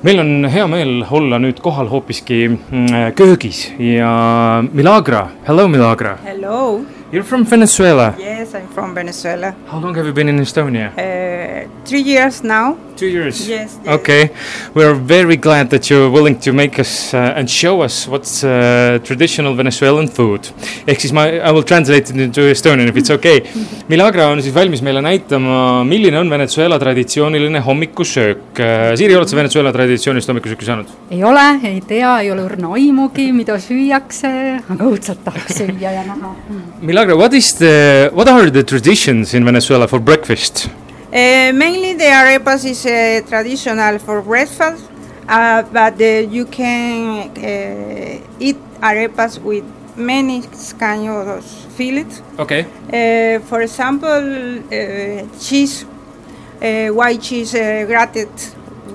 meil on hea meel olla nüüd kohal hoopiski mm, köögis ja Milagra, hello Milagra. Hello. You are from Venezuela. Yes, I'm from Venezuela. How long have you been in Estonia? Uh, three years now. Two years. Yes, yes. Okay, we're very glad that you're willing to make us uh, and show us what's uh, traditional Venezuelan food. ehk siis ma, I will translate it into Estonian if it's okay. Milagra on siis valmis meile näitama, milline on Venezuela traditsiooniline hommikusöök uh, . Siiri , oled sa Venezuela traditsioonilist hommikusööki saanud ? ei ole , ei tea , ei ole õrna aimugi , mida süüakse , aga õudselt tahaks süüa ja näha . Milagra , what is the , what are the traditions in Venezuela for breakfast ? Uh, mainly the arepas is uh, traditional for breakfast, uh, but uh, you can uh, eat arepas with many kinds of fillets. okei okay. , Uh, for example, uh, cheese, uh, white cheese, uh, grated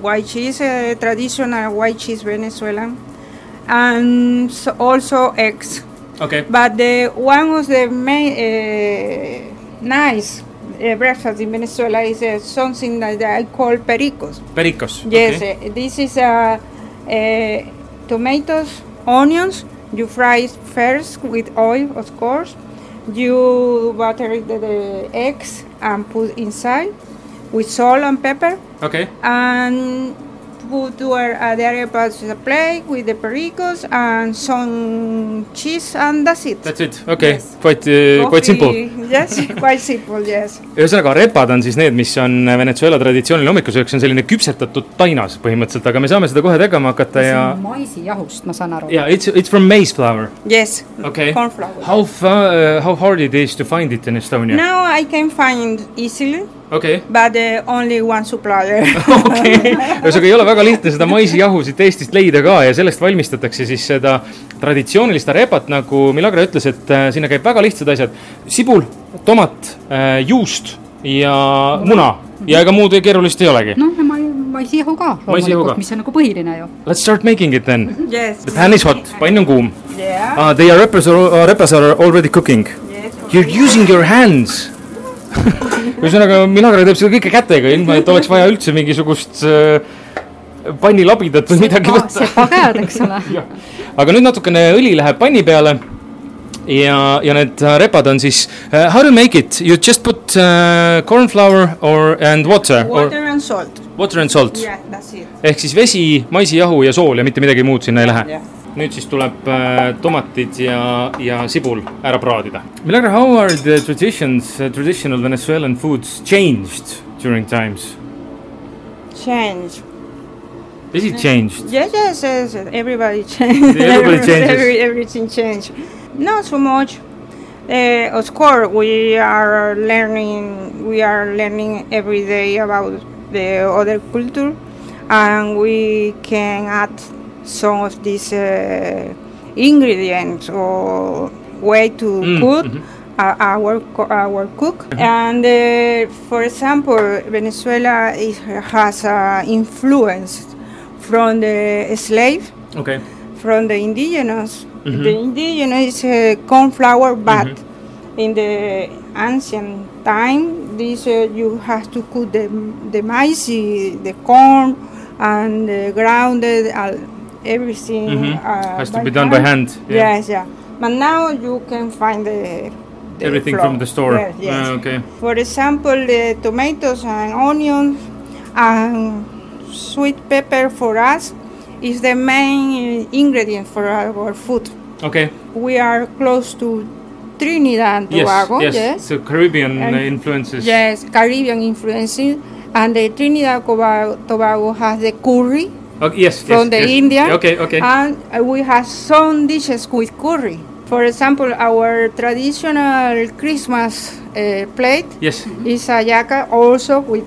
white cheese, uh, traditional white cheese Venezuelan, and so also eggs. okei okay. But the one of the main uh, nice uh, breakfast in Venezuela is uh, something that I call pericos. Pericos . Yes, uh, this is uh, uh, tomatoes, onions. You fry it first with oil, of course. You butter the, the eggs and put inside with salt and pepper, okei , and put to our, uh, the arepas in a plate with the pericos and some cheese, and that's it. that's it , okei Yes. , quite uh, , quite simple . Coffee- Yes, quite simple. Yes. ühesõnaga , repad on siis need , mis on Venezuela traditsiooniline hommikusöök , see on selline küpsetatud tainas põhimõtteliselt , aga me saame seda kohe tegema hakata see ja on maisijahust , ma saan aru . ja yeah, it's , it's from maize flour , Yes. okei Cornflour. How fa- , how hard it is to find it in Estonia ? Now I can find easily, okei , but uh, only one supplier. okei , ühesõnaga ei ole väga lihtne seda maisijahu siit Eestist leida ka ja sellest valmistatakse siis seda traditsioonilist arepat , nagu Milagra ütles , et äh, sinna käib väga lihtsad asjad . sibul , tomat , juust ja muna ja ega muud keerulist ei olegi . noh , ma , maisjahu ka Maisjahu ka. loomulikult , mis on nagu põhiline ju . Let's start making it then . yes. The pan is hot , pann on kuum Yeah. uh, . They are rappers are, , rappers are already cooking . Yes. You are using your hands . ühesõnaga , Milagra teeb seda kõike kätega , ilma et oleks vaja üldse mingisugust äh, pannilabidat või midagi võtta . sepa käed , eks ole . aga nüüd natukene õli läheb panni peale . ja , ja need äh, repad on siis uh, how to make it , you just put uh, corn flour or and water, Water and salt. or water and salt Yeah, that's it. ehk siis vesi , maisijahu ja sool ja mitte midagi muud sinna ei lähe Jah. nüüd siis tuleb äh, tomatid ja , ja sibul ära praadida . Milagra , how are the traditions uh, , traditional Venezuelan foods changed during times ? Change. Is it changed ? Yes, yes, yes. yes. Everybody change. Everybody changes. Every, everything change. Not so much. Uh, of course, we are learning. We are learning every day about the other culture, and we can add some of these uh, ingredients or way to Mm, cook. mhm. uh, our co- our cook. And uh, for example, Venezuela is, has uh, influence from the slave, okei , from the indigenous. Mhm. The indigenous uh, corn flour, but Mm-hmm. in the ancient time, this uh, you have to cook the the maize, the corn, and the grounded uh, everything. Uh, Mm-hmm. has to be done by hand yeah. . Yes, yeah. But now you can find the, the Everything flour. from the store Yes, yes. Ah, okei , For example, the tomatoes and onions and sweet pepper for us is the main ingredient for our food. okei , We are close to Trinidad and yes Tobago. , yes , so Caribbean And- uh, influences . Yes, Caribbean influences, and the Trinidad Tobago, Tobago has the curry Yes , yes . from the India. okei , okei , And uh, we have some dishes with curry. For example, our traditional Christmas uh, plate yes , is ayaka also with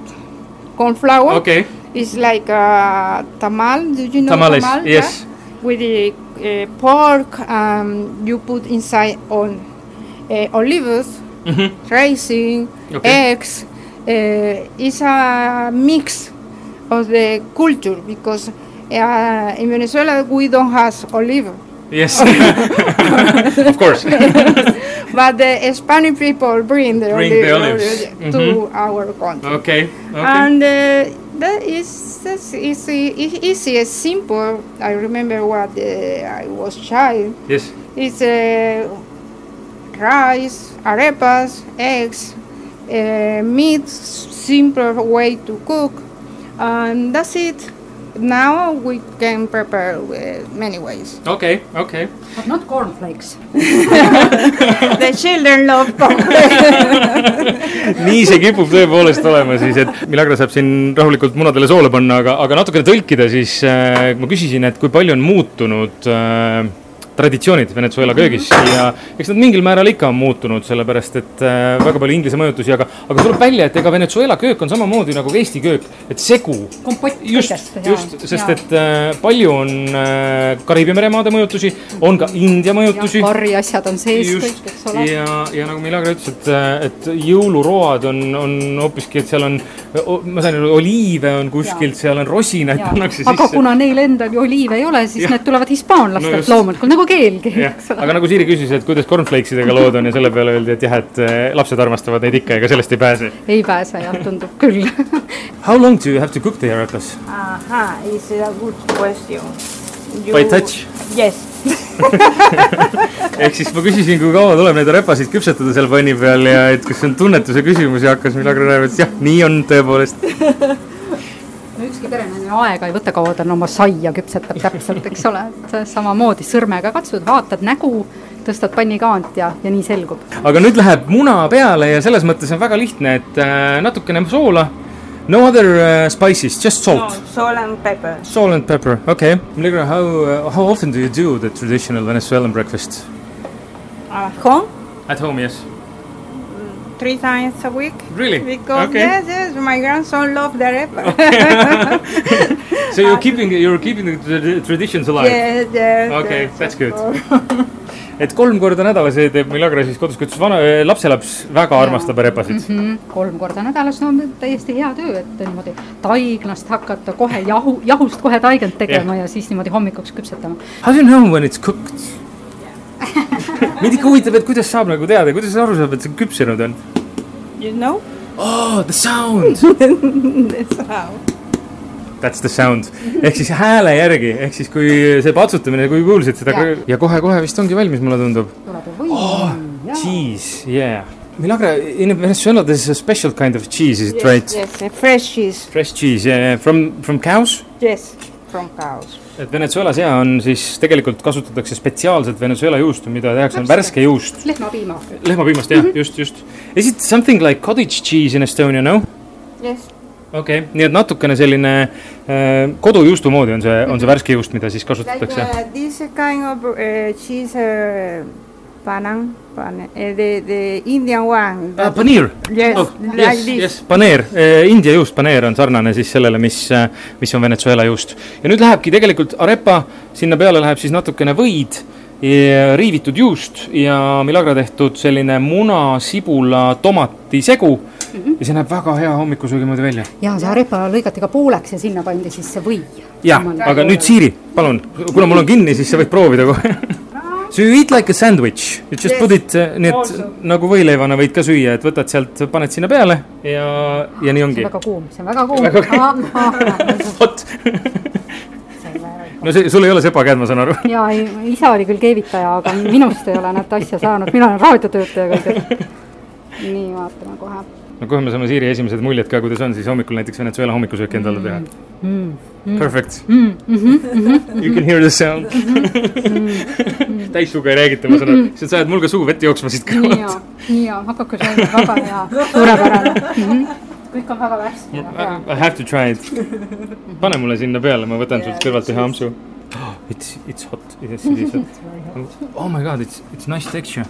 corn flour. okei , It's like a tamal. Do you know tamales tamal? , yeah? yes , With the uh, pork, um, you put inside on uh, olives, Mhm. raisin, Okay. eggs. Uh, it's a mix of the culture because uh, in Venezuela we don't have olive, yes . Of course , but the Spanish people bring the Bring the olives. to our country. okei , okei . And uh, That is that's easy. e- Easy, it's simple. I remember what uh, I was child. Yes. It's uh, rice, arepas, eggs, uh, meat. Simple way to cook, and that's it. Now we can prepare uh, many ways. Okay. Okay. But not cornflakes . the children love cornflakes. nii see kipub tõepoolest olema siis , et Milagra saab siin rahulikult munadele soole panna , aga , aga natukene tõlkida , siis äh, ma küsisin , et kui palju on muutunud äh, traditsioonid Venezuela köögis Mhm. ja eks nad mingil määral ikka on muutunud , sellepärast et äh, väga palju inglise mõjutusi , aga , aga tuleb välja , et ega Venezuela köök on samamoodi nagu ka Eesti köök , et segu kompott just , just , sest et äh, palju on äh, Kariibi meremaade mõjutusi , on ka India mõjutusi . karri asjad on sees Just. kõik , eks ole . ja , ja nagu Milagra ütles , et , et jõuluroad on , on hoopiski , et seal on , ma sain aru , oliive on kuskilt , seal on rosinaid pannakse aga sisse . kuna neil endal ju oliive ei ole , siis Jah. need tulevad hispaanlastelt No no just. loomulikult nagu keelgi , jah eks , ole . aga nagu Siiri küsis , et kuidas cornflakesidega lood on ja selle peale öeldi , et jah , et eh, lapsed armastavad neid ikka , ega sellest ei pääse . ei pääse jah , tundub küll . How long do you have to cook the arepas ? Aha, it's a good question. You, By touch? Yes. ehk siis ma küsisin , kui kaua tuleb neid arepasid küpsetada seal panni peal ja et kas see on tunnetuse küsimus ja hakkas Milagra rääkima , et jah , nii on tõepoolest . no ükski perenaine aega ei võta , kaua ta on oma saia küpsetab täpselt , eks ole , et samamoodi sõrmega katsud , vaatad nägu , tõstad pannikaant ja , ja nii selgub . aga nüüd läheb muna peale ja selles mõttes on väga lihtne , et äh, natukene soola . No other uh, spices , just No, salt no. . salt and pepper. Salt and pepper , okei okay. . Milagra , how uh, , how often do you do the traditional Venezuelan breakfast ? At home, At home , yes . three times a week. Really? Because Okay. yes, yes, my grandson loved the arepa. So you are keeping , you are keeping the trad- traditions alive yeah. ? yes, yes. Okay, yes, that's of good. course. et kolm korda nädalas teeb Milagra siis kodus , kuidas vana , lapselaps väga Jaa. armastab arepasid mm . Mm, kolm korda nädalas , no on täiesti hea töö , et niimoodi taiglast hakata kohe jahu , jahust kohe taigelt tegema ja siis niimoodi hommikuks küpsetama . -hmm. How do you know when it's cooked ? mind ikka huvitab , et kuidas saab nagu teada , kuidas aru saab , et see küpsenud on ? You know? Oh , the sound That's how. That's the sound ehk siis hääle järgi , ehk siis kui see patsutamine , kui kuulsid seda Jaa. ja kohe-kohe vist ongi valmis , mulle tundub . tuleb ju võim oh, ja Cheese , yeah . Milagra , in Venezuela there is a special kind of cheese , is it Yes, right ? Yes, uh, fresh cheese. Fresh cheese yeah, from , from cows ? Yes, from cows. et Venezuelas jaa , on siis tegelikult kasutatakse spetsiaalselt Venezuela juustu , mida tehakse , on värske juust . lehmapiima . lehmapiimast jah mm , -hmm. just , just . Is it something like cottage cheese in Estonia , no ? Yes. okei okay. , nii et natukene selline äh, kodujuustu moodi on see , on see värske juust , mida siis Like kasutatakse . uh, this kind of uh, cheese, uh, panan, pan, uh, the, the Indian one. Uh, paneer Yes, oh, like yes, this. yes. paneer , India juust paneer on sarnane siis sellele , mis , mis on Venezuela juust . ja nüüd lähebki tegelikult arepa , sinna peale läheb siis natukene võid , riivitud juust ja Milagra tehtud selline muna , sibula , tomati segu mm . -hmm. ja see näeb väga hea hommikusöögi moodi välja . ja see arepa lõigati ka pooleks ja sinna pandi siis see või . jah , aga nüüd Siiri , palun , kuna mul on kinni , siis sa võid proovida kohe . So you eat like a sandwich , you just yes. Yes. put it , nii et Also. nagu võileivana võid ka süüa , et võtad sealt , paned sinna peale ja , ja nii see ongi on . väga kuum , see on väga kuum . vot , no see , sul ei ole sepakäed , ma saan aru . ja ei , isa oli küll keevitaja , aga minust ei ole nad asja saanud , mina olen raadiotöötaja kõigepealt . nii , vaatame kohe no kohe me saame Siiri esimesed muljed ka , kuidas on siis hommikul näiteks Venezuela hommikusöök endale teha . mm. . Perfect . You can hear the sound . täis suga ei räägita , ma saan aru , sa ajad mul ka suu vett jooksma siit nii kõrvalt . hea , nii hea , hakake sööma , väga hea , suurepärane mm . -hmm. kõik on väga värske ja hea . Äh, I have to try it . pane mulle sinna peale , ma võtan sult kõrvalt ühe ampsu . It's , it's hot , yes it is hot . Oh my god , it's , it's nice texture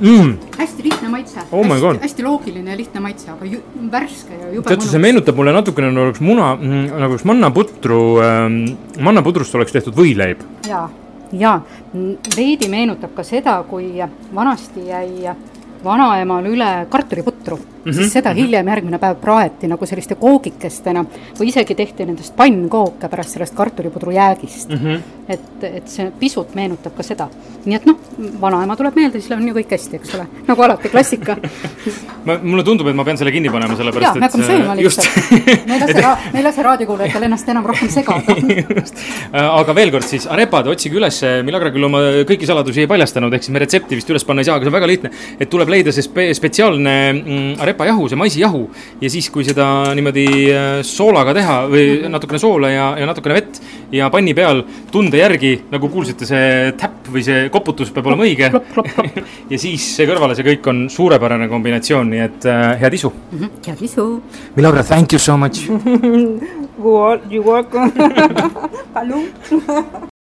mm. . hästi lihtne maitse Oh my hästi, God. hästi loogiline ja lihtne maitse , aga ju, värske ja jube teate , see meenutab mulle natukene nagu oleks muna , nagu oleks mannaputru ähm, , mannaputrust oleks tehtud võileib . ja , ja m, veidi meenutab ka seda , kui vanasti jäi vanaemal üle kartuliputru mm, -hmm. siis seda hiljem järgmine päev praeti nagu selliste koogikestena või isegi tehti nendest pannkooke pärast sellest kartulipudru jäägist mm. -hmm. et, et see pisut meenutab ka seda. nii et noh, vanaema tuleb meelde, siis on ju kõik hästi, eks ole, nagu alati klassika ma, mulle tundub, et ma pean selle kinni panema, jaa, sellepärast me hakkame sööma äh, just lihtsalt . me ei lase , me ei lase raadiokuulajatel ennast enam rohkem segada . Just. Äh, aga veel kord siis arepad , otsige üles , Milagra küll oma kõiki saladusi ei paljastanud , ehk siis me retsepti vist üles panna ei saa , aga see on väga lihtne . et tuleb leida see spe spetsiaalne mm, arepajahu , see maisijahu ja siis , kui seda niimoodi äh, soolaga teha või natukene soola ja , ja natukene vett ja panni peal tunde järgi , nagu kuulsite , see täpp või see koputus peab olema õige . ja siis see kõrvale , see kõik on suurepärane kombinatsioon , nii et äh, head isu . head isu . Milagra , thank you so much . You walk, you walk. Palun.